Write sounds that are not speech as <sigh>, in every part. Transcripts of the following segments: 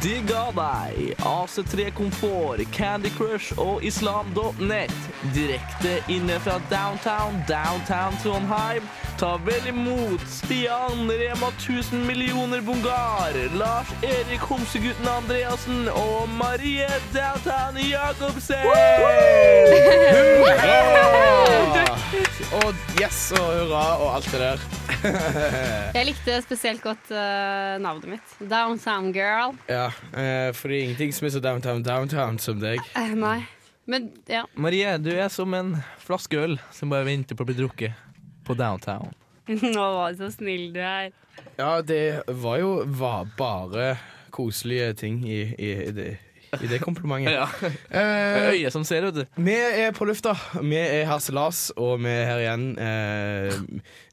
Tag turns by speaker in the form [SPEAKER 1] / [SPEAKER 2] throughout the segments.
[SPEAKER 1] digga deg. AC3 Komfort, Candy Crush og islam.net. Direkte inne fra downtown, downtown Trondheim. Ta vel imot Stian Rema 1000 millioner Bungar, Lars Erik Homsegutten Andreassen og Marie Downtown Jacobsen!
[SPEAKER 2] Og yes og hurra og alt det der.
[SPEAKER 3] Jeg likte spesielt godt eh, navnet mitt. Downtown Girl.
[SPEAKER 2] Ja, eh, fordi ingenting som er så downtown downtown som deg.
[SPEAKER 3] Eh, nei. Men ja.
[SPEAKER 1] Marie, du er som en flaske øl som bare venter på å bli drukket på downtown.
[SPEAKER 3] Nå var du så snill du er.
[SPEAKER 2] Ja, det var jo var bare koselige ting i, i, i, det, i det komplimentet. <laughs> Eh,
[SPEAKER 1] Øyet som ser, vet du.
[SPEAKER 2] vi er på lufta. Vi er Harselas, og vi er her igjen. Eh,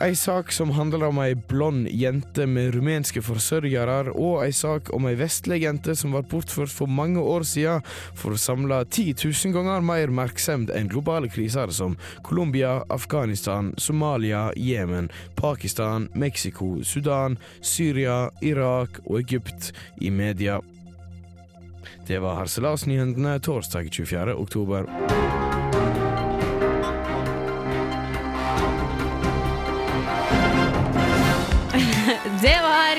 [SPEAKER 2] Ei sak som handler om ei blond jente med rumenske forsørgere, og ei sak om ei vestlig jente som var bortført for mange år siden for å samle 10 000 ganger mer merksemd enn globale kriser som Colombia, Afghanistan, Somalia, Jemen, Pakistan, Mexico, Sudan, Syria, Irak og Egypt i media. Det var Harselasnyhendene torsdag 24. oktober.
[SPEAKER 3] Det var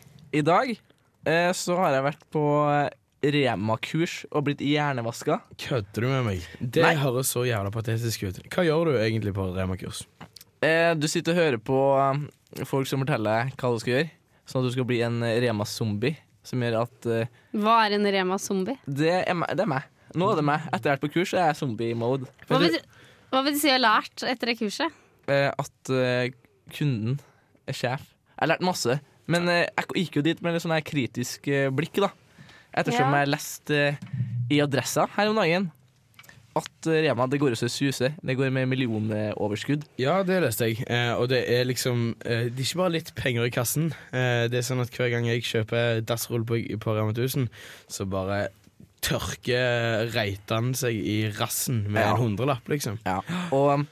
[SPEAKER 1] I dag eh, så har jeg vært på eh, Rema-kurs og blitt hjernevaska.
[SPEAKER 2] Kødder du med meg? Det
[SPEAKER 1] Nei.
[SPEAKER 2] høres så jævla patetisk ut. Hva gjør du egentlig på Rema-kurs?
[SPEAKER 1] Eh, du sitter og hører på eh, folk som forteller deg hva du skal gjøre, sånn at du skal bli en eh, Rema-zombie. Som gjør at eh,
[SPEAKER 3] Hva er en Rema-zombie?
[SPEAKER 1] det, er meg, det er meg. Nå er det meg. Etter jeg har vært på kurs, er jeg zombie-mode.
[SPEAKER 3] Hva, vil du- hva vil du si jeg har lært etter det kurset?
[SPEAKER 1] Eh, at eh, kunden er sjef. Jeg har lært masse, men eh, jeg gikk jo dit med litt sånn her kritisk eh, blikk, da. Ettersom
[SPEAKER 3] Ja.
[SPEAKER 1] jeg leste eh, i Adressa her om dagen at eh, Rema det går jo så det suser. Det går med millionoverskudd.
[SPEAKER 2] Ja, det leste jeg. Eh, og det er liksom eh, Det er ikke bare litt penger i kassen. Eh, det er sånn at Hver gang jeg kjøper dassrull på, på Rema 1000, så bare tørker Reitan seg i rassen med
[SPEAKER 1] Ja.
[SPEAKER 2] en hundrelapp, liksom.
[SPEAKER 1] Og um,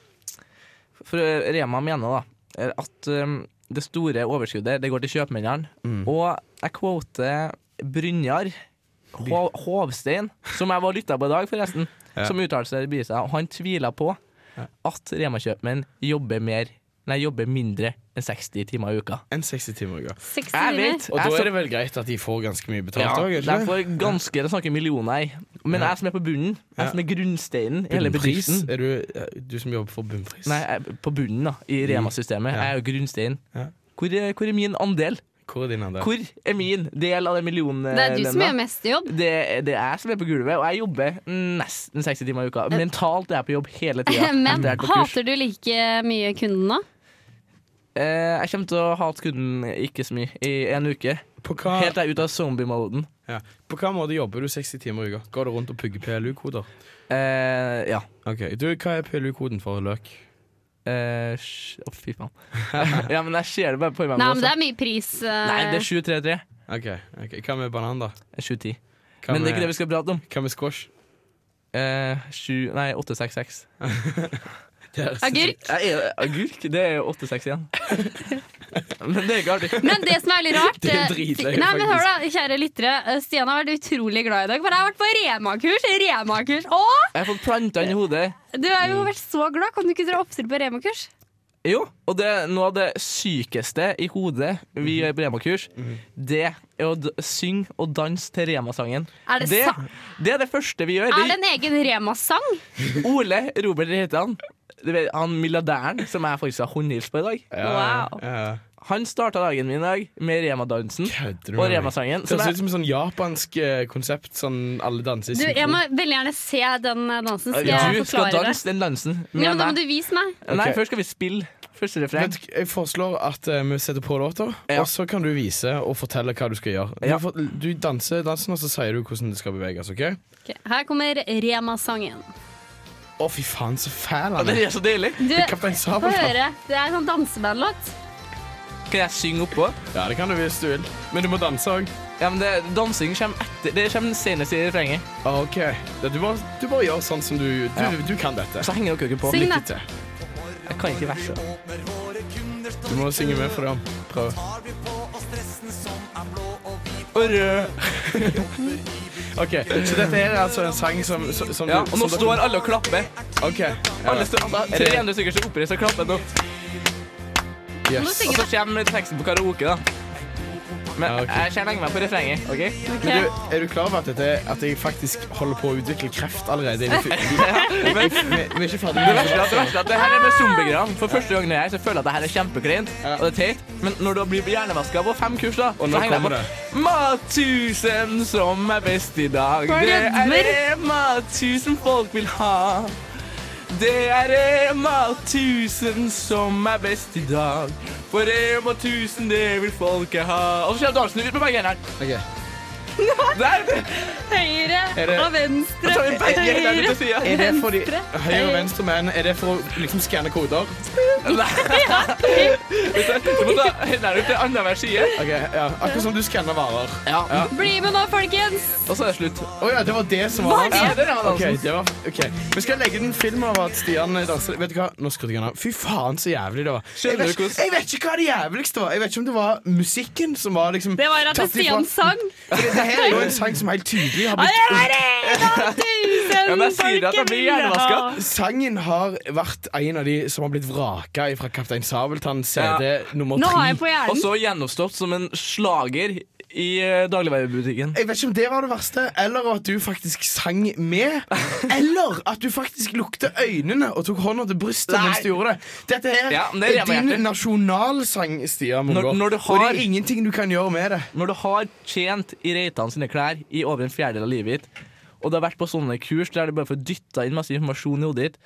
[SPEAKER 1] for eh, Rema mener da er at um, det store overskuddet det går til kjøpmennene.
[SPEAKER 2] Mm.
[SPEAKER 1] Og jeg quoter Brynjar Hov- Hovstein, som jeg var lytta på i dag, forresten,
[SPEAKER 2] Ja.
[SPEAKER 1] som uttalte seg i Bisa, og han tviler på at Rema-kjøpmenn jobber mer Nei, jobber mindre enn 60 timer i uka.
[SPEAKER 2] En 60 timer i går.
[SPEAKER 3] 60
[SPEAKER 1] Jeg
[SPEAKER 3] timer?
[SPEAKER 1] vet!
[SPEAKER 2] Og da
[SPEAKER 1] jeg
[SPEAKER 2] er det vel greit at de får ganske mye
[SPEAKER 1] altså- ja,
[SPEAKER 2] betalt òg,
[SPEAKER 1] de får ganske Det snakker millioner i. Men jeg som er på bunnen, jeg som er grunnsteinen i hele bedriften
[SPEAKER 2] Er du, eh, du som jobber for bunnpris?
[SPEAKER 1] Nei, jeg, på bunnen da, i Rema-systemet.
[SPEAKER 2] Mm. Ja.
[SPEAKER 1] Jeg er jo grunnsteinen.
[SPEAKER 2] Ja.
[SPEAKER 1] Hvor, er- hvor er min andel?
[SPEAKER 2] Hvor er din andel?
[SPEAKER 1] Hvor er min del av den millionen?
[SPEAKER 3] Det er du
[SPEAKER 1] eh,
[SPEAKER 3] som
[SPEAKER 1] lønna?
[SPEAKER 3] gjør mest jobb.
[SPEAKER 1] Det, det er jeg som er på gulvet, og jeg jobber nesten 60 timer i uka. Mentalt er jeg på jobb hele
[SPEAKER 3] <laughs>
[SPEAKER 1] tida.
[SPEAKER 3] Eh. Men hater du like mye kunden nå?
[SPEAKER 1] Eh, Jeg kommer til å hate kunden ikke så mye i en uke.
[SPEAKER 2] På hva,
[SPEAKER 1] Helt til jeg er ute av zombie-moden.
[SPEAKER 2] ja. på hva måte jobber du 60 timer i uka? Går du rundt og pugger PLU-koder?
[SPEAKER 1] Eh, ja.
[SPEAKER 2] Ok, du, Hva er PLU-koden for løk?
[SPEAKER 1] Eh, sj- Å, fy faen.
[SPEAKER 2] <laughs>
[SPEAKER 1] ja, men jeg ser det bare på meg.
[SPEAKER 3] Nei, men
[SPEAKER 1] også.
[SPEAKER 3] det er mye pris. eh,
[SPEAKER 1] Nei, det er 733.
[SPEAKER 2] Ok, ok, Hva med banan, da?
[SPEAKER 1] 710.
[SPEAKER 2] Hva
[SPEAKER 1] Men det er
[SPEAKER 2] med-
[SPEAKER 1] ikke det vi skal prate om.
[SPEAKER 2] Hva med squash?
[SPEAKER 1] Eh, 7, nei, 866.
[SPEAKER 2] Det er-
[SPEAKER 3] Agurk.
[SPEAKER 1] Jeg er, agurk, det er jo 8-6 <laughs> igjen. Men det er ikke artig.
[SPEAKER 3] Men det som er veldig
[SPEAKER 1] <laughs>
[SPEAKER 3] rart
[SPEAKER 2] Det er
[SPEAKER 3] eh,
[SPEAKER 2] dritløye,
[SPEAKER 3] Nei, men hør da, kjære lyttere. eh, Stian har vært utrolig glad i dag, for jeg har vært på Rema-kurs. Rema-kurs. Å!
[SPEAKER 1] Jeg har fått planta den i hodet.
[SPEAKER 3] Du har
[SPEAKER 1] Mm.
[SPEAKER 3] jo vært så glad. Kan du ikke dra oppstille på Rema-kurs?
[SPEAKER 1] Jo, og det er noe av det sykeste i hodet vi gjør på Rema-kurs, det er å d synge og danse til Rema-sangen.
[SPEAKER 3] Er det
[SPEAKER 1] det,
[SPEAKER 3] sa-
[SPEAKER 1] det er det første vi gjør.
[SPEAKER 3] Er det en egen Rema-sang?
[SPEAKER 1] Ole Robert heter han. Du vet, han milliardæren som jeg faktisk har håndhilst på i dag.
[SPEAKER 2] Ja,
[SPEAKER 3] Wow.
[SPEAKER 2] ja.
[SPEAKER 1] Han starta dagen min i dag med Rema-dansen
[SPEAKER 2] Kødder du
[SPEAKER 1] og
[SPEAKER 2] med meg?
[SPEAKER 1] Rema-sangen.
[SPEAKER 2] Det
[SPEAKER 1] som
[SPEAKER 2] ser
[SPEAKER 1] jeg-
[SPEAKER 2] ut som et sånn japansk eh, konsept. Sånn alle danser i
[SPEAKER 3] Du, jeg
[SPEAKER 2] synkron.
[SPEAKER 3] må veldig gjerne se den eh, dansen. Skal
[SPEAKER 1] Ja,
[SPEAKER 3] jeg
[SPEAKER 1] Du skal
[SPEAKER 3] forklare det?
[SPEAKER 1] danse den dansen med
[SPEAKER 3] Ja, men da må
[SPEAKER 1] meg.
[SPEAKER 3] du vise meg.
[SPEAKER 1] Nei,
[SPEAKER 2] Ok.
[SPEAKER 1] først skal vi spille første refreng.
[SPEAKER 2] Vet du, jeg foreslår at eh, vi setter på låter,
[SPEAKER 1] Ja.
[SPEAKER 2] og så kan du vise og fortelle hva du skal gjøre. Du,
[SPEAKER 1] Ja.
[SPEAKER 2] får- du danser dansen, og så sier du hvordan det skal beveges. ok? Å,
[SPEAKER 3] Ok, Her kommer Rema-sangen.
[SPEAKER 2] fy faen, så fæl
[SPEAKER 1] Ja,
[SPEAKER 2] han er!
[SPEAKER 1] Det er så deilig.
[SPEAKER 3] Du,
[SPEAKER 2] Kaptein
[SPEAKER 3] få
[SPEAKER 2] Sabeltann.
[SPEAKER 3] høre. Det er en sånn dansebandlåt.
[SPEAKER 1] Kan jeg synge oppå?
[SPEAKER 2] Ja, det kan du hvis du vil. Men du må danse òg.
[SPEAKER 1] Ja, men det, dansing kommer etter. Det kommer senest i refrenget.
[SPEAKER 2] OK. Ja, Du bare, du bare gjør sånn som du Du,
[SPEAKER 1] Ja.
[SPEAKER 2] du kan dette.
[SPEAKER 1] Så henger dere på.
[SPEAKER 3] Syng,
[SPEAKER 2] Lykke
[SPEAKER 3] da.
[SPEAKER 2] til.
[SPEAKER 1] Jeg kan ikke verset.
[SPEAKER 2] Du må synge med for dem. Prøv.
[SPEAKER 1] Og rød.
[SPEAKER 2] OK, så dette er altså en sang som, som, som
[SPEAKER 1] Ja,
[SPEAKER 2] du-
[SPEAKER 1] og nå
[SPEAKER 2] som dere-
[SPEAKER 1] står alle og klapper.
[SPEAKER 2] OK.
[SPEAKER 1] Alle
[SPEAKER 2] Ja.
[SPEAKER 1] står, altså, 300 stykker som oppreist og klapper nå.
[SPEAKER 3] Nå
[SPEAKER 2] Yes.
[SPEAKER 1] Og
[SPEAKER 3] synger
[SPEAKER 1] så kommer teksten på karaoke, da. Men
[SPEAKER 2] Ja, ok.
[SPEAKER 1] jeg skal legge meg på refrenget. ok?
[SPEAKER 3] Ok.
[SPEAKER 2] Men du, er du klar over at, dette, at jeg faktisk holder på å utvikle kreft allerede? i fyr-
[SPEAKER 1] <laughs>
[SPEAKER 2] <laughs>
[SPEAKER 1] Men
[SPEAKER 2] Vi, vi er ikke ferdig
[SPEAKER 1] det
[SPEAKER 2] med
[SPEAKER 1] verste, er at- det verste er at det her er med zombiegran. For første gangen jeg er her, så føler jeg at det her er kjempekleint. Og det er teit. Men når du blir hjernevaska på fem kurs, da
[SPEAKER 2] Og nå
[SPEAKER 1] så henger jeg
[SPEAKER 2] kommer
[SPEAKER 1] på Mattusen som er best i dag.
[SPEAKER 3] Hva er
[SPEAKER 1] Det
[SPEAKER 3] det,
[SPEAKER 1] er
[SPEAKER 3] Edmer?
[SPEAKER 1] det Mattusen folk vil ha. Det er Rema 1000 som er best i dag. For Rema 1000, det vil folket ha. Og så kommer dansen ut med begge hendene.
[SPEAKER 2] Ok.
[SPEAKER 1] Der!
[SPEAKER 3] Høyre
[SPEAKER 2] Er det-
[SPEAKER 3] og venstre.
[SPEAKER 1] Så tar vi begge hendene
[SPEAKER 3] Høyre.
[SPEAKER 1] til sida.
[SPEAKER 2] Er det for de
[SPEAKER 3] Venstre.
[SPEAKER 2] høyre og venstre menn? Er det for å liksom skanne
[SPEAKER 1] Du
[SPEAKER 2] koder?
[SPEAKER 1] må ta hendene ut til andre hver side.
[SPEAKER 2] Ok, ja. Akkurat som du skanner varer.
[SPEAKER 1] Ja.
[SPEAKER 3] Bli med nå, folkens.
[SPEAKER 1] Og så er det slutt.
[SPEAKER 2] Å ja, det var det som
[SPEAKER 3] Hva
[SPEAKER 2] var
[SPEAKER 3] er det?
[SPEAKER 1] Ja, det er
[SPEAKER 2] Ok,
[SPEAKER 1] dansen.
[SPEAKER 2] det var, ok. Vi skal legge den filmen over at Stian danser Vet du hva? Nå skrudde jeg den av. Fy faen, så jævlig det var. Jeg
[SPEAKER 1] Skjønner du
[SPEAKER 2] vet, ikke-
[SPEAKER 1] hvordan-
[SPEAKER 2] jeg vet ikke hva det jævligste var. Jeg vet ikke om det var musikken som var liksom
[SPEAKER 3] Det var at
[SPEAKER 2] tatt ifra-
[SPEAKER 3] Stian sang.
[SPEAKER 2] For Dette her er jo en sang som helt tydelig har
[SPEAKER 3] Ja,
[SPEAKER 2] blitt
[SPEAKER 3] det var Rema
[SPEAKER 1] Ja,
[SPEAKER 3] 1000
[SPEAKER 1] men jeg sier at jeg
[SPEAKER 3] folket
[SPEAKER 1] blir
[SPEAKER 3] vil ha.
[SPEAKER 1] hjernevaska.
[SPEAKER 2] Sangen har vært en av de som har blitt vraka fra Kaptein Sabeltann CD nummer
[SPEAKER 3] Nå har
[SPEAKER 2] tre.
[SPEAKER 3] jeg på
[SPEAKER 1] Og
[SPEAKER 3] hjernen.
[SPEAKER 1] så gjenoppstått som en slager i eh, dagligvarebutikken.
[SPEAKER 2] Jeg vet ikke om det var det verste, eller at du faktisk sang
[SPEAKER 1] <laughs>
[SPEAKER 2] med. Eller at du faktisk lukte øynene og tok hånda til brystet
[SPEAKER 1] Nei.
[SPEAKER 2] mens du gjorde det. Dette her
[SPEAKER 1] Ja, men det
[SPEAKER 2] er
[SPEAKER 1] remer
[SPEAKER 2] din
[SPEAKER 1] hjertet.
[SPEAKER 2] nasjonalsang, Stian Mungård.
[SPEAKER 1] Når- når du
[SPEAKER 2] Og
[SPEAKER 1] har-
[SPEAKER 2] det er ingenting du kan gjøre med det.
[SPEAKER 1] Når du har tjent i Reitan sine klær i over en fjerdedel av livet ditt, og du har vært på sånne kurs der du bare får dytta inn masse informasjon i hodet ditt,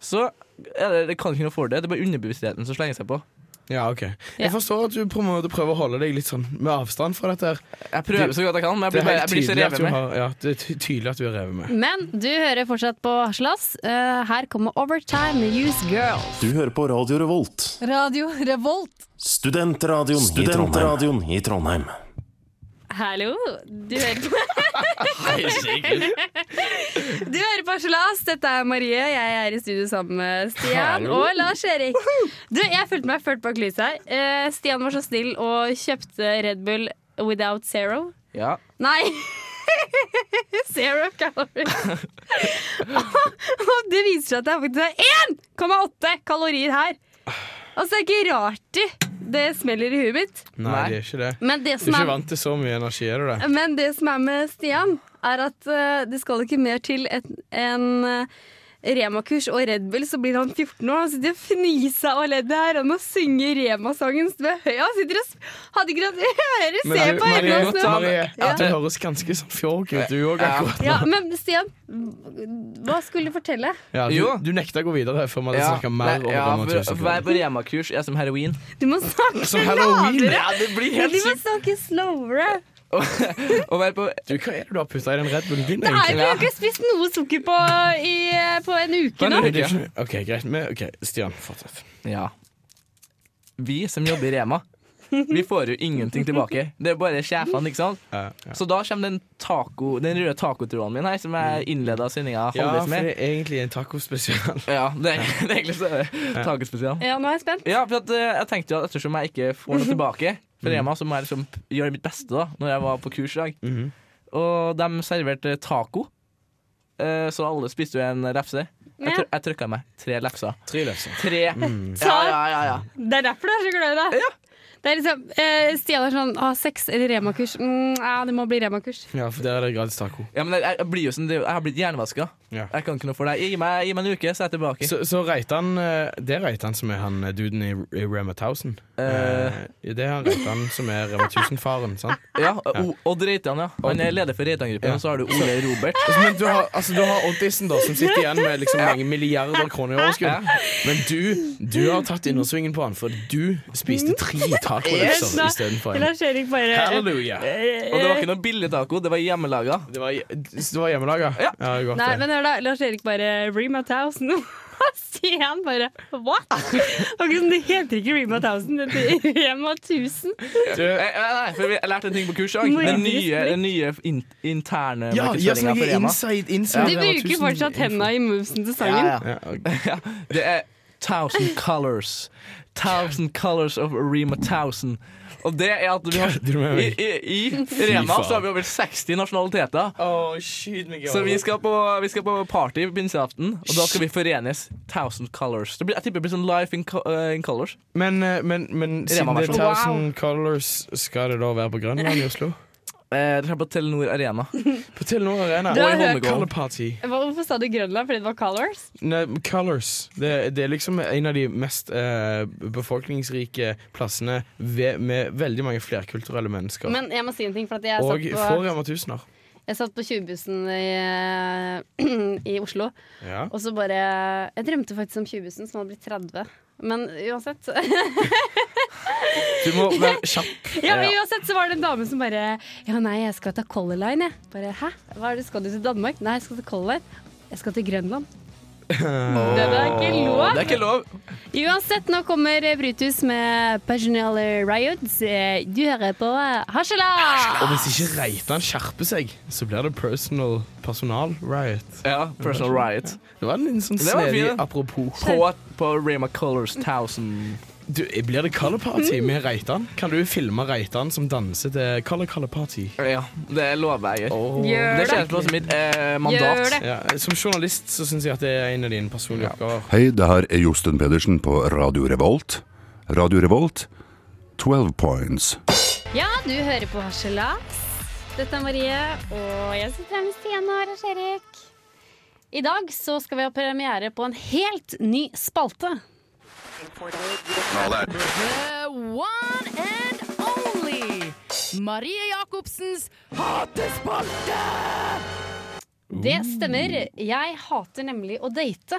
[SPEAKER 1] så er det, det kan ikke noe for det. Det er bare underbevisstheten som slenger seg på.
[SPEAKER 2] Ja, ok
[SPEAKER 3] Ja.
[SPEAKER 2] Jeg forstår at du på en måte prøver å holde deg litt sånn med avstand fra dette. her
[SPEAKER 1] Jeg prøver så godt jeg kan, men jeg blir,
[SPEAKER 2] Det er
[SPEAKER 1] bare, jeg
[SPEAKER 2] helt
[SPEAKER 1] blir så
[SPEAKER 2] tydelig at
[SPEAKER 1] revet
[SPEAKER 2] du
[SPEAKER 1] med.
[SPEAKER 2] har, ja, det er ty- tydelig at du er revet med.
[SPEAKER 3] Men du hører fortsatt på Slass. Eh, her kommer Overtime med Use Girls.
[SPEAKER 4] Du hører på Radio Revolt,
[SPEAKER 3] Radio Revolt.
[SPEAKER 4] studentradioen, studentradioen i Trondheim.
[SPEAKER 3] Hallo. Du hører på
[SPEAKER 2] <laughs>
[SPEAKER 3] <laughs> Du hører på Slass. Dette er Marie. Jeg er i studio sammen med Stian
[SPEAKER 2] Hallo.
[SPEAKER 3] og Lars Erik. Du, jeg følte meg ført bak lyset her. Eh, Stian var så snill og kjøpte Red Bull Without Zero.
[SPEAKER 1] Ja.
[SPEAKER 3] Nei. <laughs> Zero
[SPEAKER 2] <laughs>
[SPEAKER 3] calories. Og det viser seg at det er faktisk er 1,8 kalorier her. Altså, det er ikke rart det, det smeller i huet mitt.
[SPEAKER 2] Nei,
[SPEAKER 1] Nei.
[SPEAKER 2] det er ikke det.
[SPEAKER 3] Men det,
[SPEAKER 2] Du
[SPEAKER 3] som
[SPEAKER 2] er ikke
[SPEAKER 3] er,
[SPEAKER 2] vant til så mye energi, er du det?
[SPEAKER 3] men det som er med Stian, er at eh, det skal ikke mer til et- enn eh, Rema-kurs og Red Bull, så blir han 14 år. Han sitter og fniser av leddet her. Han må synge Rema-sangen med høy. Han sitter og s- hadde ikke <laughs> hatt øre. Se
[SPEAKER 2] Marie,
[SPEAKER 3] på øynene
[SPEAKER 2] Marie,
[SPEAKER 1] nå
[SPEAKER 3] hans nå.
[SPEAKER 1] tar
[SPEAKER 2] Marie,
[SPEAKER 3] Ja.
[SPEAKER 2] du høres ganske sånn fjorg ut, du òg,
[SPEAKER 1] Ja.
[SPEAKER 2] akkurat.
[SPEAKER 3] Ja, men Stian, hva skulle du fortelle?
[SPEAKER 2] Ja,
[SPEAKER 1] Jo.
[SPEAKER 2] du, du nekta å gå videre før vi hadde
[SPEAKER 1] Ja.
[SPEAKER 2] snakka mer
[SPEAKER 1] Nei,
[SPEAKER 2] om
[SPEAKER 1] ja,
[SPEAKER 2] Rema
[SPEAKER 1] for,
[SPEAKER 2] 1000
[SPEAKER 1] for jeg
[SPEAKER 2] kroner.
[SPEAKER 1] på Rema-kurs er som
[SPEAKER 2] <laughs>
[SPEAKER 1] heroin.
[SPEAKER 3] Du må snakke
[SPEAKER 2] Som Altså, halloween.
[SPEAKER 3] lavere!
[SPEAKER 1] Ja, det blir
[SPEAKER 3] Du
[SPEAKER 1] helt
[SPEAKER 3] må
[SPEAKER 1] sykt
[SPEAKER 3] snakke slowere.
[SPEAKER 1] å å være på
[SPEAKER 2] Du, hva er det du har putta i den Red Bullen din?
[SPEAKER 3] Nei,
[SPEAKER 2] egentlig?
[SPEAKER 3] vi har ikke spist noe sukker på, i, eh, på en uke
[SPEAKER 1] Men
[SPEAKER 3] nå.
[SPEAKER 1] det-
[SPEAKER 2] Det er ikke- OK, greit. Men, ok, Stian, fortsett.
[SPEAKER 1] Ja. Vi som jobber i Rema, Vi får jo ingenting tilbake. Det er bare sjefene, ikke sant?
[SPEAKER 2] Ja, ja.
[SPEAKER 1] Så da kommer den, taco, den røde tacotråden min her, som jeg innleda sendinga
[SPEAKER 2] ja,
[SPEAKER 1] halvveis
[SPEAKER 2] for
[SPEAKER 1] med.
[SPEAKER 2] det er egentlig en tacospesial.
[SPEAKER 1] Ja, det er, det er egentlig så er det tacospesial.
[SPEAKER 3] Ja, nå er jeg spent.
[SPEAKER 1] Ja, for at, eh, jeg tenkte jo at ettersom jeg ikke får noe tilbake fra Rema, så må jeg liksom gjøre mitt beste da Når jeg var på kurs i dag.
[SPEAKER 2] Mhm.
[SPEAKER 1] Og de serverte taco. Eh, Så alle spiste jo en lefse. Jeg, tr jeg trykka meg tre lefser.
[SPEAKER 2] <laughs> Tre løser.
[SPEAKER 1] Tre!
[SPEAKER 3] Så
[SPEAKER 1] Ja, ja, ja, ja.
[SPEAKER 3] Det er derfor du er så glad i det. Det er liksom, eh, Stian er sånn ah, sex eller Rema-kurs. Mm, ja, det må bli Rema-kurs.
[SPEAKER 2] Ja, for der er det gratis taco.
[SPEAKER 1] ja men jeg, jeg, blir jo sånn, det er jo- jeg har blitt hjernevaska.
[SPEAKER 2] Ja.
[SPEAKER 1] Jeg kan ikke noe for deg. Gi meg, gi meg en uke, så er jeg tilbake.
[SPEAKER 2] Så, så Reitan eh, Det er Reitan som er han eh, duden i, i Rema 1000. Eh, det er han Reitan som er Rema 1000-faren, sant?
[SPEAKER 1] Ja, o Odd Reitan, ja. Han er leder for Reitan-gruppen.
[SPEAKER 2] Ja.
[SPEAKER 1] Og så har du Ole
[SPEAKER 2] <laughs>
[SPEAKER 1] Robert.
[SPEAKER 2] Altså, men du har, altså, du har Oddisen, da, som sitter igjen med liksom mange milliarder kroner i
[SPEAKER 1] Ja.
[SPEAKER 2] overskudd. Men du, du har tatt innersvingen på han, for du
[SPEAKER 3] Mm.
[SPEAKER 2] spiste tre
[SPEAKER 3] <laughs>
[SPEAKER 2] tacoløser
[SPEAKER 3] da.
[SPEAKER 2] istedenfor en.
[SPEAKER 3] Lars Erik bare Eh,
[SPEAKER 2] Halleluja!
[SPEAKER 1] Og det var ikke noe billig taco, det var hjemmelaga.
[SPEAKER 2] Det var, det var hjemmelaga?
[SPEAKER 1] Ja.
[SPEAKER 2] ja det er godt,
[SPEAKER 3] eh, Nei,
[SPEAKER 2] det.
[SPEAKER 3] men hør da, Lars Erik bare Rema 1000. <laughs> Stian bare what? <laughs> Akkurat som det heter ikke Rema 1000, det heter <laughs> Rema 1000.
[SPEAKER 1] Du, nei, Eh, nei, for jeg lærte en ting på kurs i dag.
[SPEAKER 3] Må jeg
[SPEAKER 1] Den
[SPEAKER 3] gi
[SPEAKER 1] nye,
[SPEAKER 3] respekt?
[SPEAKER 1] den nye in interne
[SPEAKER 2] Ja, ja, som
[SPEAKER 1] markedsføringa
[SPEAKER 2] jeg
[SPEAKER 1] for
[SPEAKER 2] er
[SPEAKER 1] Rema.
[SPEAKER 2] inside, inside
[SPEAKER 3] Du
[SPEAKER 2] Rema
[SPEAKER 3] bruker
[SPEAKER 2] 1000
[SPEAKER 3] fortsatt
[SPEAKER 2] info.
[SPEAKER 3] henda i movesen til
[SPEAKER 1] Ja,
[SPEAKER 3] sangen.
[SPEAKER 1] ja.
[SPEAKER 2] Ja, ok.
[SPEAKER 1] Det er Thousand Colors. Thousand Colors of Rema 1000. Og det er at vi har
[SPEAKER 2] Kødder du med
[SPEAKER 1] I,
[SPEAKER 2] meg?
[SPEAKER 1] i, i Rema
[SPEAKER 2] faen.
[SPEAKER 1] så har vi over 60 nasjonaliteter.
[SPEAKER 2] Å, skyt meg i
[SPEAKER 1] Så vi
[SPEAKER 3] altså.
[SPEAKER 2] hodet.
[SPEAKER 1] skal på, vi skal på party på pinseaften, og da skal vi forenes. Thousand Colors. Det blir, jeg tipper det blir sånn Life in, co eh, in Colors.
[SPEAKER 2] Men, eh, men, men siden det er
[SPEAKER 1] Rema-versjon.
[SPEAKER 2] 1000 Colors, skal det da være på Grønland i Oslo?
[SPEAKER 1] Eh, det er på Telenor Arena.
[SPEAKER 2] På Telenor Arena.
[SPEAKER 3] Du har
[SPEAKER 2] Og i
[SPEAKER 3] hørt-
[SPEAKER 2] Holmenkollen. Color Party.
[SPEAKER 3] Hvorfor sa du Grønland fordi det var colors?
[SPEAKER 2] Nei, Colors. Det, det er liksom en av de mest eh, befolkningsrike plassene ved, med veldig mange flerkulturelle mennesker.
[SPEAKER 3] Men jeg må si en ting, for at jeg
[SPEAKER 2] og
[SPEAKER 3] satt
[SPEAKER 2] for
[SPEAKER 3] på,
[SPEAKER 2] Rema 1000-er.
[SPEAKER 3] jeg satt på 20-bussen i, eh, <clears throat> i Oslo.
[SPEAKER 2] Ja.
[SPEAKER 3] Og så bare Jeg drømte faktisk om 20-bussen som hadde blitt 30. Men uansett
[SPEAKER 2] Du må være kjapp.
[SPEAKER 3] <laughs> Ja, men uansett så var det en dame som bare Ja, nei, jeg skal ta Color Line, jeg. Bare hæ? Hva er det, skal du til Danmark? Nei, jeg skal til Color Line. Jeg skal til
[SPEAKER 1] <laughs>
[SPEAKER 3] Grønland. Det er
[SPEAKER 1] Åh,
[SPEAKER 3] ikke
[SPEAKER 1] Det
[SPEAKER 3] lov.
[SPEAKER 1] er ikke lov.
[SPEAKER 3] Uansett, nå kommer Brutus med Personal Riots. Eh, Du hører på Hasjala!
[SPEAKER 2] Og hvis ikke Reitan skjerper seg, så blir det personal personal riot.
[SPEAKER 1] Ja, Personal Riot.
[SPEAKER 2] Det var en liten sånn
[SPEAKER 1] Det var
[SPEAKER 2] snedig
[SPEAKER 1] fin.
[SPEAKER 2] apropos.
[SPEAKER 1] På, på Rema Colors 1000.
[SPEAKER 2] Du, blir det Color
[SPEAKER 3] Mm.
[SPEAKER 2] Party med Reitan? Kan du filme Reitan som danser til Color Color Party?
[SPEAKER 1] Ja, det lover jeg. å gjøre.
[SPEAKER 2] Åh.
[SPEAKER 3] Gjør
[SPEAKER 1] Det
[SPEAKER 3] det!
[SPEAKER 1] kjennes som mitt eh, mandat.
[SPEAKER 3] Gjør det!
[SPEAKER 2] Ja, som journalist så syns jeg at det er en av dine personlige oppgaver.
[SPEAKER 5] Hei, det her er Josten Pedersen på Radio Revolt. Radio Revolt, 12 points.
[SPEAKER 3] Ja, du hører på Harselas. Dette er Marie, og jeg sitter her med Stian og Lars Erik. I dag så skal vi ha premiere på en helt ny spalte.
[SPEAKER 6] The one and only Marie Jacobsens Hatespalte!
[SPEAKER 3] Det stemmer. Jeg hater nemlig å date.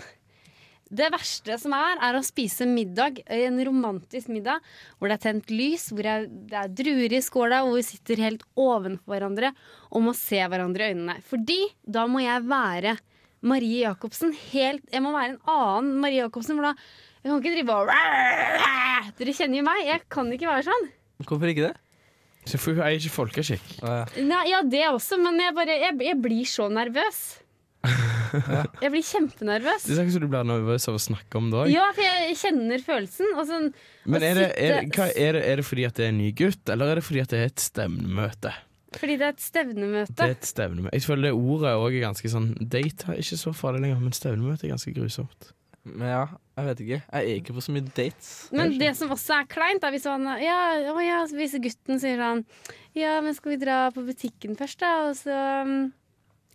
[SPEAKER 3] Det verste som er, er å spise middag, en romantisk middag, hvor det er tent lys, hvor det er- det er druer i skåla, hvor vi sitter helt ovenfor hverandre og må se hverandre i øynene. Fordi da må jeg være Marie Jacobsen helt Jeg må være en annen Marie Jacobsen, for da jeg kan ikke drive og Dere kjenner jo meg. Jeg kan ikke være sånn.
[SPEAKER 1] Hvorfor ikke det?
[SPEAKER 2] Så for hun er ikke folkeskikk.
[SPEAKER 3] Nei, ja, det også, men jeg, bare, jeg, jeg blir så
[SPEAKER 2] <laughs>
[SPEAKER 3] nervøs. Jeg blir kjempenervøs.
[SPEAKER 2] Det er ikke så du blir nervøs av å snakke om det òg.
[SPEAKER 3] Ja, for jeg kjenner følelsen. Og sånn,
[SPEAKER 2] Men
[SPEAKER 3] å
[SPEAKER 2] er det, Eh, er, det-
[SPEAKER 3] sitte-
[SPEAKER 2] hva, er, det, er det fordi at det er en ny gutt, eller er det fordi at det er et stevnemøte?
[SPEAKER 3] Fordi det er et
[SPEAKER 2] Det
[SPEAKER 3] stevnemøte.
[SPEAKER 2] er et stevnemøte. Jeg føler det ordet òg er ganske sånn Date er ikke så farlig lenger, men stevnemøte er ganske grusomt.
[SPEAKER 1] Men ja, jeg vet ikke. Jeg er ikke på så mye dates.
[SPEAKER 3] Men det som også er kleint, er hvis, han, ja, å ja, hvis gutten sier sånn Ja, men skal vi dra på butikken først, da? Og så mm,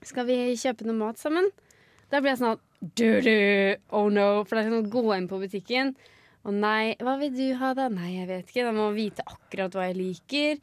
[SPEAKER 3] skal vi kjøpe noe mat sammen? Da blir jeg sånn du, du, Oh no. For det er sånn å gå inn på butikken. Å nei, hva vil du ha da? Nei, jeg vet ikke. Da må man vite akkurat hva jeg liker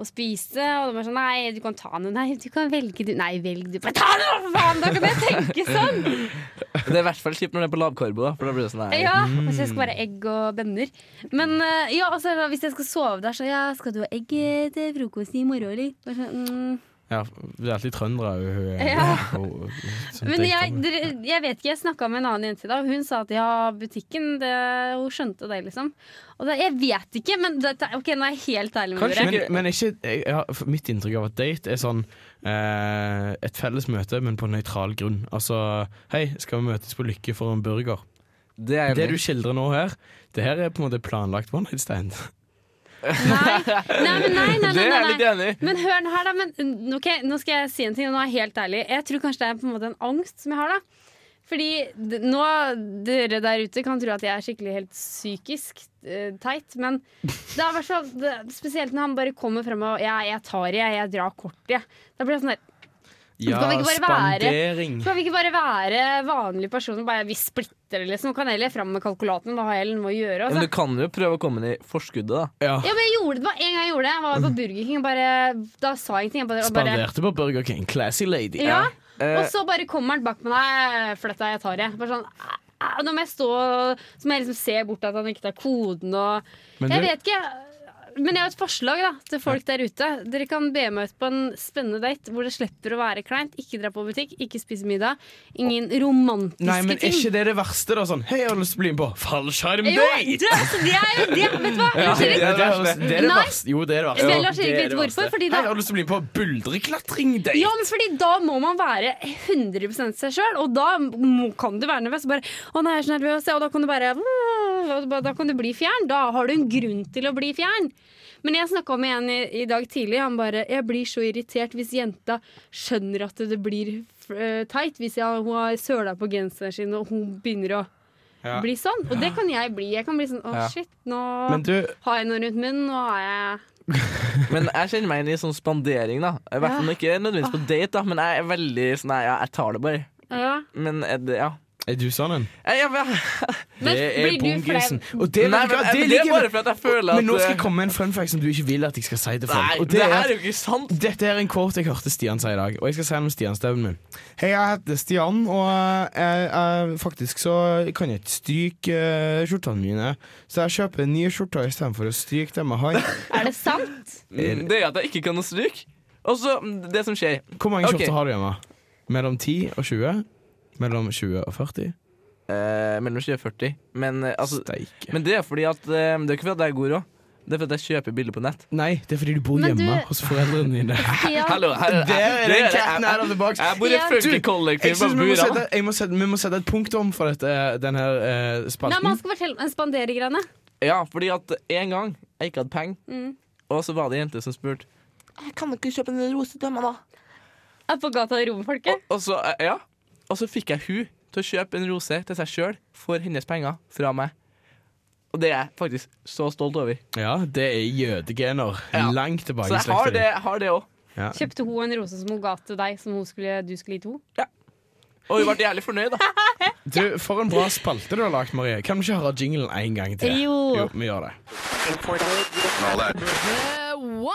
[SPEAKER 3] å spise. Og de er sånn Nei, du kan ta noe. Nei, du kan velge, du. Nei, velg du. Bare ta noe, for faen! Da kan jeg tenke sånn!
[SPEAKER 1] Det er i hvert fall kjipt når det er på lavkarbo. da, For da blir det sånn her
[SPEAKER 3] Ja, hvis jeg skal være egg og bønner. Men eh, ja, altså, hvis jeg skal sove der, så ja, skal du ha egg til frokost i morgen, eller? Bare sånn, mm,
[SPEAKER 2] Ja, det er alltid trøndere og hun er-
[SPEAKER 3] Ja.
[SPEAKER 2] og- og- som
[SPEAKER 3] Men
[SPEAKER 2] tenker
[SPEAKER 3] jeg,
[SPEAKER 2] på det.
[SPEAKER 3] dere- jeg vet ikke, jeg snakka med en annen jente i dag. og Hun sa at ja, butikken det, Hun skjønte det, liksom. Og det, jeg vet ikke, men dette, ok, nå er jeg helt ærlig med
[SPEAKER 2] Kanskje,
[SPEAKER 3] dere.
[SPEAKER 2] men, men ikke, jeg, jeg har, for mitt inntrykk av at date er sånn eh, et felles møte, men på nøytral grunn. Altså hei, skal vi møtes på Lykke for en burger?
[SPEAKER 1] Det er
[SPEAKER 2] Det du skildrer nå her, det her er på en måte planlagt one night stand.
[SPEAKER 3] Nei, nei, men nei, nei,
[SPEAKER 1] Det
[SPEAKER 3] nei,
[SPEAKER 1] er jeg
[SPEAKER 3] nei,
[SPEAKER 1] litt
[SPEAKER 3] nei.
[SPEAKER 1] enig i.
[SPEAKER 3] Men hør nå her, da. Men, mm, ok, nå skal jeg si en ting, og nå er jeg helt ærlig. Jeg tror kanskje det er på en måte en angst som jeg har, da. Fordi d- nå, dere der ute kan tro at jeg er skikkelig helt psykisk eh, teit, men det er i hvert fall det- Spesielt når han bare kommer frem og ja, 'jeg tar i, jeg, jeg drar kortet', jeg. Da blir jeg sånn der Kan vi ikke bare være-
[SPEAKER 2] spandering.
[SPEAKER 3] Skal vi ikke bare være vanlige personer? Bare Vi splitter det, liksom. Kan jeg heller fram med kalkulatoren. Da har jeg heller noe å gjøre.
[SPEAKER 1] Men du
[SPEAKER 3] Altså.
[SPEAKER 1] kan jo prøve å komme inn i forskuddet, da.
[SPEAKER 2] Ja.
[SPEAKER 3] Ja, men jeg gjorde det bare en gang jeg gjorde det. Jeg var på Burger King og bare Da sa jeg ingenting. Jeg bare, og bare
[SPEAKER 2] Spanderte på Burger King. Classy lady.
[SPEAKER 3] ja. Og
[SPEAKER 1] Eh,
[SPEAKER 3] så bare kommer han bak med deg. Flytt deg, jeg tar det. Bare sånn «Æ, æ», Nå må jeg stå og Så må jeg liksom se bort at han ikke tar koden og
[SPEAKER 2] Men
[SPEAKER 3] Jeg
[SPEAKER 2] du-
[SPEAKER 3] vet ikke. Men jeg har et forslag da til folk der ute. Dere kan be meg ut på en spennende date hvor det slipper å være kleint. Ikke dra på butikk, ikke spise middag. Ingen romantiske
[SPEAKER 2] Nei, men er
[SPEAKER 3] ting.
[SPEAKER 2] ikke det det verste, da? Sånn, hei, jeg har lyst til å bli med
[SPEAKER 3] Jo,
[SPEAKER 2] på fallskjermdate!
[SPEAKER 3] det, altså, det er jo det! Vet du hva?
[SPEAKER 2] Ja,
[SPEAKER 3] Lars
[SPEAKER 2] det,
[SPEAKER 3] Erik,
[SPEAKER 2] det, det,
[SPEAKER 1] verste.
[SPEAKER 2] det er det
[SPEAKER 3] Nei.
[SPEAKER 2] verste. Jo, det er det verste.
[SPEAKER 3] Men Lars Erik
[SPEAKER 2] Det er
[SPEAKER 3] vet
[SPEAKER 2] det
[SPEAKER 3] hvorfor,
[SPEAKER 2] verste.
[SPEAKER 3] fordi da-
[SPEAKER 2] Hei, Jeg har lyst til å bli med på buldreklatring-date!
[SPEAKER 3] ja, men fordi da må man være 100 seg sjøl, og da må, kan du være nervøs. Bare, å nei, jeg er så nervøs, ja», og da kan du bare og da- Da kan du bli fjern. Da har du en grunn til å bli fjern. Men jeg snakka med en i, i dag tidlig, han bare Jeg blir så irritert hvis jenta skjønner at det blir eh, teit. Hvis jeg, hun har søla på genseren sin, og hun begynner å
[SPEAKER 2] Ja.
[SPEAKER 3] bli sånn. Og det kan jeg bli. Jeg kan bli sånn å
[SPEAKER 2] Ja.
[SPEAKER 3] shit, nå
[SPEAKER 2] Men du,
[SPEAKER 3] har jeg noe rundt munnen, nå har jeg
[SPEAKER 1] Men jeg kjenner meg inn i sånn spandering, da. I hvert fall ikke nødvendigvis på
[SPEAKER 2] Ah.
[SPEAKER 1] date, da, men jeg er veldig sånn Nei, ja, jeg tar det bare.
[SPEAKER 3] ja.
[SPEAKER 1] Men er det, ja.
[SPEAKER 2] er du sånn en?
[SPEAKER 1] Jeg, jeg,
[SPEAKER 2] <laughs>
[SPEAKER 1] jeg,
[SPEAKER 3] Men blir du
[SPEAKER 2] bongisen.
[SPEAKER 3] flau?
[SPEAKER 2] sånn, Og det,
[SPEAKER 1] nei,
[SPEAKER 2] vet du
[SPEAKER 1] men,
[SPEAKER 2] hva,
[SPEAKER 1] det, er
[SPEAKER 2] ligger-
[SPEAKER 1] bare fordi at jeg føler at
[SPEAKER 2] Men nå skal jeg komme med en fun fact som du ikke vil at jeg skal si til folk.
[SPEAKER 1] Nei,
[SPEAKER 2] og
[SPEAKER 1] det,
[SPEAKER 2] det
[SPEAKER 1] her
[SPEAKER 2] er,
[SPEAKER 1] er jo ikke sant!
[SPEAKER 2] dette er en quote jeg hørte Stian si i dag, og jeg skal si den om Stian-stemmen min. Hei, jeg heter Stian, og jeg, jeg, faktisk så kan jeg ikke stryke eh, skjortene mine, så jeg kjøper nye skjorter istedenfor å stryke dem jeg har.
[SPEAKER 3] Er det sant?
[SPEAKER 1] Det er at jeg ikke kan å stryke. Og så det som skjer.
[SPEAKER 2] Hvor mange
[SPEAKER 1] Ok.
[SPEAKER 2] skjorter har du hjemme? Mellom 10 og 20? Mellom 20 og 40?
[SPEAKER 1] Eh, mellom 20 og 40. Men, eh, altså,
[SPEAKER 2] Steike.
[SPEAKER 1] men det er fordi at eh, Det er ikke fordi at jeg er god råd. Det er fordi at jeg kjøper bilder på nett.
[SPEAKER 2] Nei, det er fordi du bor
[SPEAKER 3] Men
[SPEAKER 2] hjemme
[SPEAKER 3] du-
[SPEAKER 2] hos foreldrene
[SPEAKER 1] <laughs>
[SPEAKER 2] dine.
[SPEAKER 3] Ja.
[SPEAKER 1] Hallo, her,
[SPEAKER 2] Der er det
[SPEAKER 1] jeg-
[SPEAKER 2] cat
[SPEAKER 1] jeg-
[SPEAKER 2] out of the box.
[SPEAKER 1] Jeg bor i
[SPEAKER 3] Ja.
[SPEAKER 1] et fucking
[SPEAKER 2] Du, Jeg
[SPEAKER 1] kollektiv på
[SPEAKER 2] synes vi, må
[SPEAKER 1] Buran.
[SPEAKER 2] sette, jeg må sette, vi må sette et punktum for dette, den her eh,
[SPEAKER 3] Nei, altså,
[SPEAKER 2] spalten.
[SPEAKER 3] man skal fortelle om spanderegreiene.
[SPEAKER 1] Ja, fordi at en gang jeg ikke hadde penger,
[SPEAKER 2] Mm.
[SPEAKER 1] og så var det ei jente som spurte «Jeg Kan du ikke kjøpe en rose til meg, da?
[SPEAKER 3] Er på gata i romfolket.
[SPEAKER 1] Og så, eh, ja. og så fikk jeg hun til å kjøpe en rose til seg sjøl for hennes penger fra meg. Og det er jeg faktisk så stolt over.
[SPEAKER 2] Ja, det er jødegener.
[SPEAKER 1] Ja.
[SPEAKER 2] Langt tilbake
[SPEAKER 1] Så
[SPEAKER 2] i
[SPEAKER 1] jeg har
[SPEAKER 2] slekta.
[SPEAKER 1] det, jeg har det òg.
[SPEAKER 3] Kjøpte hun en rose som hun ga til deg, som hun skulle, du skulle gi til henne?
[SPEAKER 1] Og hun ble jævlig fornøyd, da.
[SPEAKER 2] Du, For en bra spalte du har lagt, Marie. Kan vi ikke høre jinglen en gang til?
[SPEAKER 3] Jo.
[SPEAKER 2] vi gjør det.
[SPEAKER 6] The one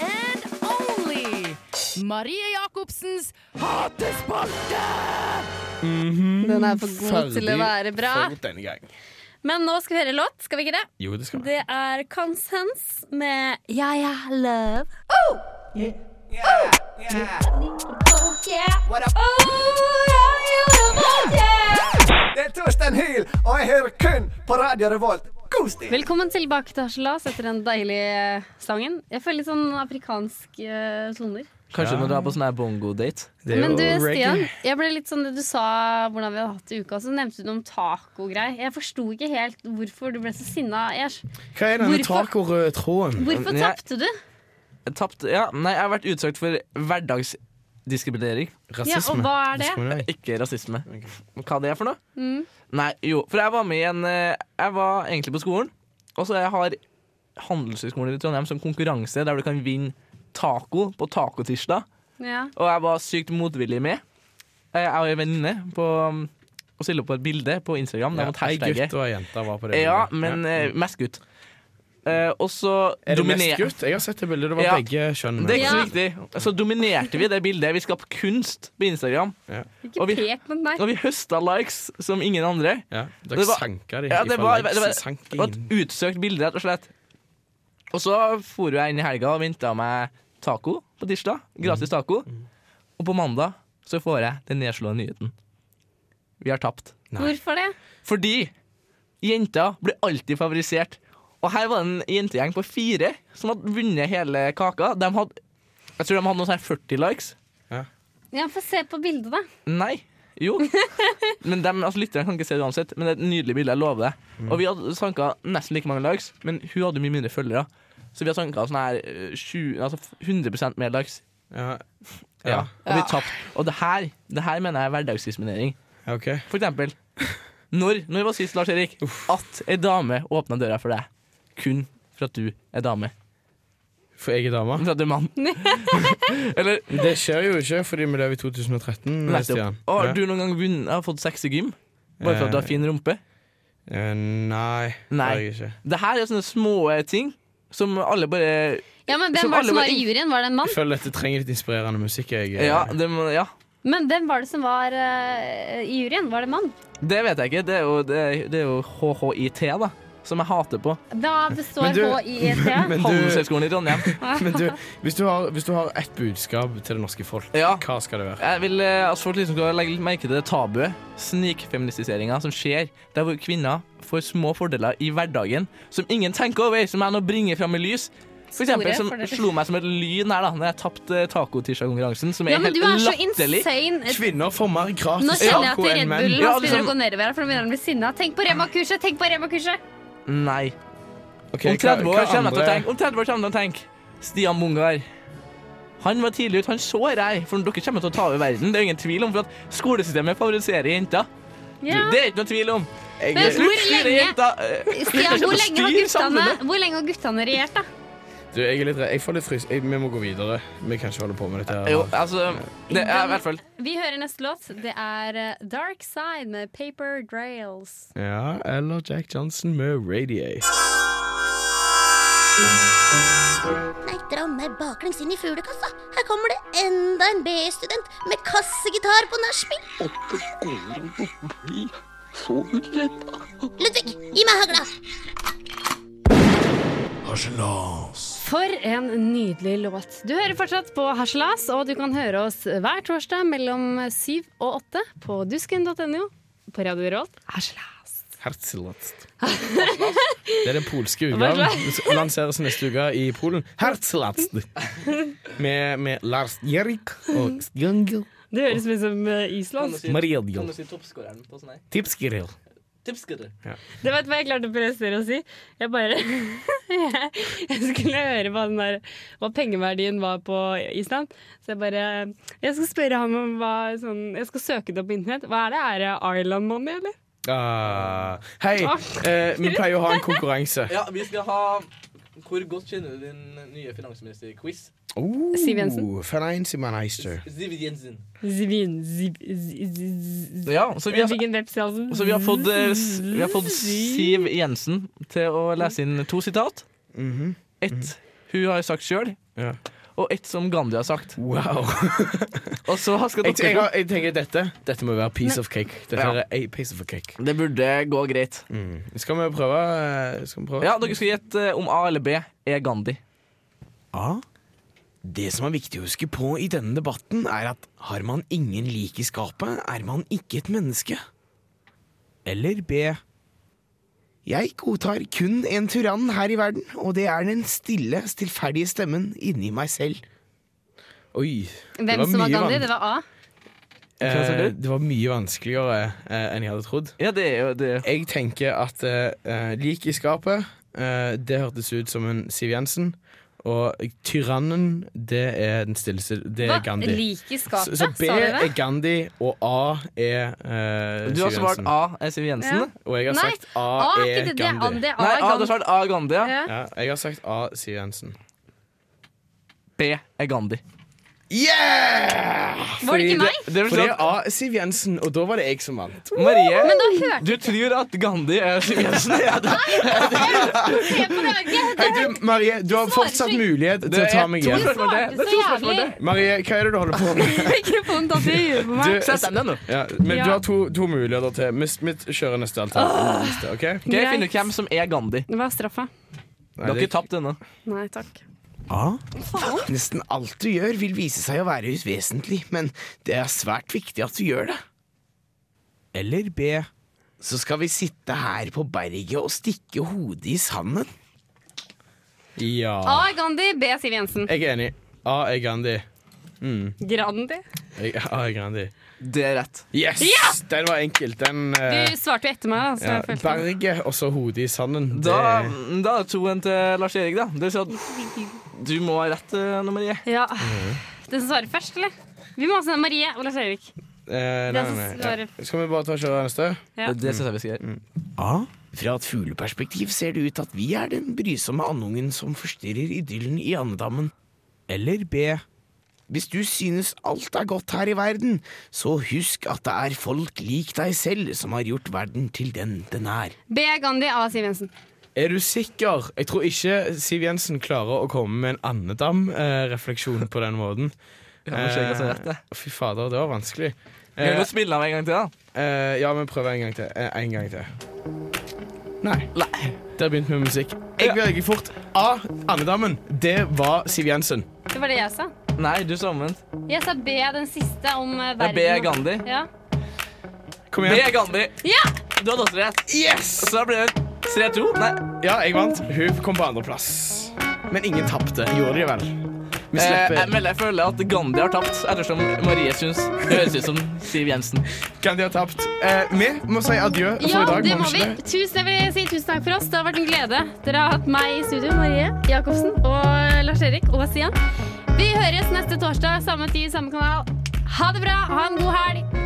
[SPEAKER 6] and only Marie Jacobsens Hatespalte!
[SPEAKER 3] Den er for god til å
[SPEAKER 2] Ferdig
[SPEAKER 3] være bra.
[SPEAKER 2] Mm, For denne gang.
[SPEAKER 3] Men nå skal vi høre låt, skal vi ikke det?
[SPEAKER 2] Jo, det skal vi.
[SPEAKER 3] Det er Consens med Ja, ja, love. Oh! Yeah. Oh, yeah.
[SPEAKER 7] Det er Torstein Hyl, og jeg hører kun på Radio Revolt. God stil!
[SPEAKER 3] Velkommen tilbake til Harselas etter den deilige sangen. Jeg føler litt sånn amerikansk eh, toner.
[SPEAKER 1] <laughs> Kanskje du må dra på sånn her bongo-date.
[SPEAKER 2] Det er
[SPEAKER 3] Men
[SPEAKER 2] jo
[SPEAKER 3] du, Stian,
[SPEAKER 2] reggae.
[SPEAKER 3] jeg ble litt sånn du sa hvordan vi hadde hatt det i uka, så nevnte du noe om taco-greier. Jeg forsto ikke helt hvorfor du ble så sinna. Jeg, er-
[SPEAKER 2] Hva er denne
[SPEAKER 3] Hvorfor-
[SPEAKER 2] tacorøde tråden?
[SPEAKER 3] hvorfor
[SPEAKER 1] Jeg-
[SPEAKER 3] tapte du?
[SPEAKER 1] Jeg tapte Ja, nei, jeg har vært utsatt for hverdagsdiskriminering.
[SPEAKER 3] Ja, og hva er det?
[SPEAKER 2] Diskriminering.
[SPEAKER 1] Ikke rasisme. Hva det er for noe? Nei, jo, for jeg var med i en eh, Jeg var egentlig på skolen, og så jeg har Handelshøyskolen i Trondheim som konkurranse der du kan vinne taco på tacotirsdag.
[SPEAKER 3] Ja.
[SPEAKER 1] Og jeg var sykt motvillig med. Eh, Jeg og en venninne på um, å stille opp på et bilde på Instagram.
[SPEAKER 2] Ja,
[SPEAKER 1] Der mot
[SPEAKER 2] Ei gutt
[SPEAKER 1] hashtagget.
[SPEAKER 2] og ei jente var på det.
[SPEAKER 1] Ja,
[SPEAKER 2] bildet.
[SPEAKER 1] men
[SPEAKER 2] Ja.
[SPEAKER 1] eh, mest gutt. Eh, og så
[SPEAKER 2] Er det
[SPEAKER 1] dominer-
[SPEAKER 2] mest gutt? Jeg har sett det bildet. Det var
[SPEAKER 1] Ja.
[SPEAKER 2] begge kjønn.
[SPEAKER 1] Det er ikke
[SPEAKER 3] Ja.
[SPEAKER 1] så viktig. Så dominerte vi det bildet. Vi skapte kunst på Instagram.
[SPEAKER 3] Ikke
[SPEAKER 1] Og vi-
[SPEAKER 3] pek mot meg.
[SPEAKER 1] Og vi høsta likes som ingen andre.
[SPEAKER 2] Ja,
[SPEAKER 1] Det
[SPEAKER 2] dere
[SPEAKER 1] var-
[SPEAKER 2] sanka de
[SPEAKER 1] Ja, det var, det, var,
[SPEAKER 2] sank
[SPEAKER 1] det var et utsøkt bilde, rett og slett. Og så for jeg inn i helga og venta meg taco på tirsdag. Gratis taco. Og på mandag så får jeg den nedslående nyheten. Vi har tapt.
[SPEAKER 3] Hvorfor det?
[SPEAKER 1] Fordi jenter blir alltid favorisert. Og her var det en jentegjeng på fire som hadde vunnet hele kaka. De hadde, jeg tror de hadde noe sånn her 40 likes.
[SPEAKER 3] Ja, Få se på bildet, da.
[SPEAKER 1] Nei. Jo. Men dem, altså, Lytterne kan ikke se det uansett, men det er et nydelig bilde. jeg lover det
[SPEAKER 2] Mm.
[SPEAKER 1] Og vi hadde sanka nesten like mange likes, men hun hadde mye mindre følgere. Så vi har sanka sånn her eh, 20, altså 100 mer likes.
[SPEAKER 2] Ja,
[SPEAKER 1] Ja.
[SPEAKER 2] Ja.
[SPEAKER 1] Og vi tapte. Og det her, det her mener jeg er hverdagsdiskriminering.
[SPEAKER 2] OK.
[SPEAKER 1] For eksempel. Når, når var sist, Lars Erik, at ei dame åpna døra for deg? Kun for at du er dame.
[SPEAKER 2] For jeg er dame.
[SPEAKER 1] For at du er mann. Eller
[SPEAKER 2] Det skjer jo ikke fordi vi lever i 2013.
[SPEAKER 1] nettopp.
[SPEAKER 2] Stian.
[SPEAKER 1] Har
[SPEAKER 2] Ja.
[SPEAKER 1] du noen gang vunnet, har fått sex i gym? Bare for at du har fin rumpe?
[SPEAKER 2] Eh, Nei. Det
[SPEAKER 1] Nei.
[SPEAKER 2] har jeg ikke.
[SPEAKER 1] Det her er sånne små eh, ting som alle bare
[SPEAKER 3] Ja, men Hvem
[SPEAKER 1] Som
[SPEAKER 3] var det
[SPEAKER 1] alle
[SPEAKER 3] som
[SPEAKER 1] var
[SPEAKER 3] var i
[SPEAKER 1] inn-
[SPEAKER 3] juryen? Var det en mann?
[SPEAKER 2] Jeg føler dette trenger litt inspirerende musikk. Jeg. eh.
[SPEAKER 1] Ja, det, må- ja.
[SPEAKER 3] Men hvem var det som var eh, i juryen? Var det en mann?
[SPEAKER 1] det vet jeg ikke. Det er jo, det er, det er jo HHIT, da. Som jeg hater på.
[SPEAKER 3] Da består E
[SPEAKER 2] Men du-
[SPEAKER 3] HIET.
[SPEAKER 2] Men du,
[SPEAKER 1] Handelshøyskolen i Trondheim.
[SPEAKER 2] <laughs> <laughs> men du, hvis du har, hvis du har ett budskap til det norske folk,
[SPEAKER 1] Ja.
[SPEAKER 2] hva skal det være?
[SPEAKER 1] Jeg vil eh, at folk liksom skal legge litt merke til det tabuet. Snikfeministiseringa som skjer der hvor kvinner får små fordeler i hverdagen som ingen tenker over, som jeg nå bringer fram i lys. For eksempel,
[SPEAKER 3] Store
[SPEAKER 1] som
[SPEAKER 3] fordeler.
[SPEAKER 1] slo meg som et lyn her da Når jeg tapte tacotirsdag-konkurransen, som er
[SPEAKER 3] Ja, men
[SPEAKER 1] helt
[SPEAKER 3] du er så
[SPEAKER 1] latterlig.
[SPEAKER 3] insane.
[SPEAKER 2] Kvinner får mer
[SPEAKER 3] Nå
[SPEAKER 2] gratis
[SPEAKER 3] kjenner jeg at
[SPEAKER 2] alko
[SPEAKER 3] Red Bullen
[SPEAKER 2] enn menn.
[SPEAKER 1] Ja,
[SPEAKER 3] hans begynner å
[SPEAKER 1] liksom-
[SPEAKER 3] gå nedover her, for nå begynner han å bli sinna. Tenk på Rema-kurset! Tenk på Rema-kurset!
[SPEAKER 1] Nei.
[SPEAKER 2] Ok,
[SPEAKER 1] om 30
[SPEAKER 2] hva- hva
[SPEAKER 1] år kommer jeg til å
[SPEAKER 2] andre-
[SPEAKER 1] tenke Om 30 år kommer jeg til å tenke Stian Mungar. Han var tidlig ute. Han så rei, for dere kommer til å ta over verden. Det er ingen tvil om for at skolesystemet favoriserer jenter.
[SPEAKER 3] Ja.
[SPEAKER 1] Det er ikke noe tvil om.
[SPEAKER 2] Jeg,
[SPEAKER 3] Men-
[SPEAKER 2] er-
[SPEAKER 1] Slutt
[SPEAKER 3] Hvor
[SPEAKER 1] styre
[SPEAKER 3] lenge-
[SPEAKER 1] jenter. eh,
[SPEAKER 3] Stian, hvor lenge har
[SPEAKER 1] Styr
[SPEAKER 3] guttene,
[SPEAKER 1] samfunnet.
[SPEAKER 3] hvor lenge har guttene regjert, da?
[SPEAKER 2] du, jeg er litt redd. Jeg får litt frys... Jeg, vi må gå videre. Vi kan ikke holde på med dette. her.
[SPEAKER 1] Jo, altså Det er i hvert fall
[SPEAKER 3] Vi hører neste låt. Det er eh, Dark Side med Paper Drails.
[SPEAKER 2] Ja, eller Jack Johnson med Radiate.
[SPEAKER 8] Nei, dra meg baklengs inn i fuglekassa. Her kommer det enda en B-student med kassegitar på nachspiel. Ludvig, gi meg hagla.
[SPEAKER 3] For en nydelig låt. Du hører fortsatt på Harselas, og du kan høre oss hver torsdag mellom syv og åtte på dusken.no på Radio Revolt. Harselas. <laughs>
[SPEAKER 2] Herzlast. Det er den polske utgaven. Den Lanseres neste uke i Polen.
[SPEAKER 3] <laughs>
[SPEAKER 2] Herzlast! Med, med Lars Jerik og Stjangel
[SPEAKER 3] Det høres ut som eh, islandsk.
[SPEAKER 2] Mariadjel
[SPEAKER 1] si toppskåreren på sånn her?
[SPEAKER 2] Tipskiril.
[SPEAKER 1] Tipskutter.
[SPEAKER 3] Det vet hva jeg klarte å prestere å si. Jeg bare <laughs> jeg, skulle høre hva, den der, hva pengeverdien var på Island. Så jeg bare Jeg skal spørre ham om hva sånn Jeg skal søke det opp på internett. Hva er det? Er det Island Money, eller?
[SPEAKER 2] Ah, hei, eh, vi pleier å ha en konkurranse.
[SPEAKER 1] Ja, vi skal ha Hvor godt kjenner du din nye finansminister-quiz?
[SPEAKER 2] Oh,
[SPEAKER 3] Siv Jensen.
[SPEAKER 2] Finansminister.
[SPEAKER 1] Siv Jensen.
[SPEAKER 3] Zvin, ziv, z- z- z-
[SPEAKER 1] Ja, så vi
[SPEAKER 3] Jeg
[SPEAKER 1] har,
[SPEAKER 3] fikk en veps i halsen.
[SPEAKER 1] så vi har, fått, eh, s- vi har fått Siv Jensen til å lese inn to sitat. Ett hun har sagt sjøl,
[SPEAKER 2] Mm-hmm. Ja.
[SPEAKER 1] og ett som Gandhi har sagt.
[SPEAKER 2] Wow.
[SPEAKER 1] Og så skal
[SPEAKER 2] <laughs> Jeg, jeg,
[SPEAKER 1] dere
[SPEAKER 2] har- jeg tenker dette Dette må være piece of cake. Dette
[SPEAKER 1] Ja.
[SPEAKER 2] er a piece of cake.
[SPEAKER 1] Det burde gå greit.
[SPEAKER 2] Skal vi prøve? eh, Skal vi prøve?
[SPEAKER 1] Ja, Dere skal gjette eh, om A eller B er Gandhi.
[SPEAKER 2] A. Det som er viktig å huske på i denne debatten, er at har man ingen lik i skapet, er man ikke et menneske. Eller B. Jeg godtar kun en tyrann her i verden, og det er den stille, stillferdige stemmen inni meg selv. Oi.
[SPEAKER 3] Hvem som var Gandhi? Det var A.
[SPEAKER 1] Hva sa du?
[SPEAKER 2] Eh, det var mye vanskeligere eh, enn jeg hadde trodd.
[SPEAKER 1] Ja, det er jo det. er-
[SPEAKER 2] Jeg tenker at uh, lik i skapet, eh, det hørtes ut som en Siv Jensen. Og tyrannen, det er den stilleste. Det er
[SPEAKER 3] Hva?
[SPEAKER 2] Gandhi.
[SPEAKER 3] Lik i
[SPEAKER 2] Så,
[SPEAKER 3] skapet,
[SPEAKER 2] så
[SPEAKER 3] sa du
[SPEAKER 2] B er
[SPEAKER 3] det?
[SPEAKER 2] Gandhi, og A er eh,
[SPEAKER 1] Du
[SPEAKER 2] Siv
[SPEAKER 1] har svart
[SPEAKER 2] Jensen.
[SPEAKER 1] A er Siv Jensen.
[SPEAKER 3] Ja.
[SPEAKER 2] Og jeg har
[SPEAKER 3] Nei,
[SPEAKER 2] sagt A,
[SPEAKER 3] A er
[SPEAKER 2] er
[SPEAKER 3] ikke det. Det er A,
[SPEAKER 2] Gandhi.
[SPEAKER 3] det er
[SPEAKER 1] Nei,
[SPEAKER 3] A,
[SPEAKER 1] A, du har
[SPEAKER 3] Gandhi.
[SPEAKER 1] svart A er Gandhi, ja.
[SPEAKER 3] Ja.
[SPEAKER 2] Ja, jeg har sagt A, Siv Jensen.
[SPEAKER 1] B er Gandhi.
[SPEAKER 2] Yeah!
[SPEAKER 3] Var det ikke meg?
[SPEAKER 1] Det vil si
[SPEAKER 2] Fordi
[SPEAKER 1] at
[SPEAKER 2] A er Siv Jensen, og da var det jeg som vant.
[SPEAKER 1] Marie,
[SPEAKER 3] Men da hørte
[SPEAKER 1] du tror at Gandhi er Siv Jensen. Ja, det
[SPEAKER 3] Se på Norge!
[SPEAKER 2] Hei, du, Marie, du har
[SPEAKER 3] Svarer
[SPEAKER 2] fortsatt
[SPEAKER 3] ikke.
[SPEAKER 2] mulighet til å
[SPEAKER 1] er
[SPEAKER 2] ta meg
[SPEAKER 1] to
[SPEAKER 2] igjen.
[SPEAKER 1] spørsmål til. Det er to
[SPEAKER 3] Svarte så
[SPEAKER 1] spørsmål til.
[SPEAKER 3] jævlig.
[SPEAKER 2] Marie, hva er det du holder på med?
[SPEAKER 3] Mikrofonen datt i huet på meg.
[SPEAKER 2] Du-
[SPEAKER 1] Sett den ned nå.
[SPEAKER 2] Ja, men
[SPEAKER 3] Ja.
[SPEAKER 2] du har to, to muligheter til. Vi vi kjører neste alternativ. Neste, ok?
[SPEAKER 1] Ok, Finn ut hvem som er Gandhi.
[SPEAKER 3] Hva er straffa?
[SPEAKER 1] Du har ikke tapt ennå.
[SPEAKER 3] Nei takk.
[SPEAKER 2] A. Nesten alt du gjør, vil vise seg å være uvesentlig, men det er svært viktig at du gjør det. Eller B. Så skal vi sitte her på berget og stikke hodet i sanden.
[SPEAKER 3] A
[SPEAKER 2] Ja.
[SPEAKER 3] er Gandhi, B er Siv Jensen.
[SPEAKER 2] Jeg er enig. A er Gandhi.
[SPEAKER 3] Grandi.
[SPEAKER 2] Jeg, A er Gandhi.
[SPEAKER 1] Det er rett.
[SPEAKER 2] Yes! Den var enkel. Den eh,
[SPEAKER 3] Du svarte jo etter meg, da. Så
[SPEAKER 2] ja,
[SPEAKER 3] jeg følte
[SPEAKER 2] Berget og så hodet i sanden. Det
[SPEAKER 1] Da, da er det 2-1 til Lars Erik, da. Det vil si at du må ha rett, eh, Anne Marie.
[SPEAKER 3] Ja. Den som svarer først, eller? Vi må ha sånn Marie og Lars Erik.
[SPEAKER 2] eh, nei,
[SPEAKER 3] Den som
[SPEAKER 2] nei, nei.
[SPEAKER 3] svarer-
[SPEAKER 2] Ja. Skal vi bare ta og kjøre neste?
[SPEAKER 3] Ja.
[SPEAKER 1] Det syns jeg vi skal gjøre.
[SPEAKER 2] A. Fra et fugleperspektiv ser det ut til at vi er den brysomme andungen som forstyrrer idyllen i andedammen. Eller B. Hvis du synes alt er godt her i verden, så husk at det er folk lik deg selv som har gjort verden til den den er.
[SPEAKER 3] B er Gandhi, A er Siv Jensen.
[SPEAKER 2] Er du sikker? Jeg tror ikke Siv Jensen klarer å komme med en andedam-refleksjon på den måten.
[SPEAKER 1] Lars Erik har så rett, det.
[SPEAKER 2] Fy fader, det var vanskelig. Eh,
[SPEAKER 1] Kan du spille av en gang til, da?
[SPEAKER 2] ja, vi prøver en gang til. Eh, en gang til. Nei. Der begynte vi med musikk. Jeg
[SPEAKER 1] Ja.
[SPEAKER 2] velger fort A. Andedammen. Det var Siv Jensen.
[SPEAKER 3] Det var det jeg sa.
[SPEAKER 1] Nei, du sa omvendt.
[SPEAKER 3] Jeg sa B er den siste om eh,
[SPEAKER 1] Det
[SPEAKER 3] verden.
[SPEAKER 1] er B er Gandhi.
[SPEAKER 3] Ja.
[SPEAKER 2] Kom
[SPEAKER 1] B
[SPEAKER 2] igjen.
[SPEAKER 1] er Gandhi.
[SPEAKER 3] ja!
[SPEAKER 1] Du hadde også rett.
[SPEAKER 2] Yes!
[SPEAKER 1] Så da blir det 3-2. Nei,
[SPEAKER 2] Ja, jeg vant. Hun kom på andreplass. Men ingen tapte. Gjorde de vel? Vi
[SPEAKER 1] eh, jeg,
[SPEAKER 2] slipper.
[SPEAKER 1] melder- jeg føler at Gandhi har tapt, ettersom Marie syns det høres ut som Siv Jensen.
[SPEAKER 2] Kan de ha tapt? Eh, vi må si adjø for
[SPEAKER 3] ja,
[SPEAKER 2] i dag.
[SPEAKER 3] det
[SPEAKER 2] må
[SPEAKER 3] må vi.
[SPEAKER 2] ikke det?
[SPEAKER 3] Tusen, jeg vil si tusen takk for oss. Det har vært en glede. Dere har hatt meg i studio, Marie Jacobsen og eh, Lars Erik og Sian. Vi høres neste torsdag, samme tid, samme kanal. Ha det bra. Ha en god helg.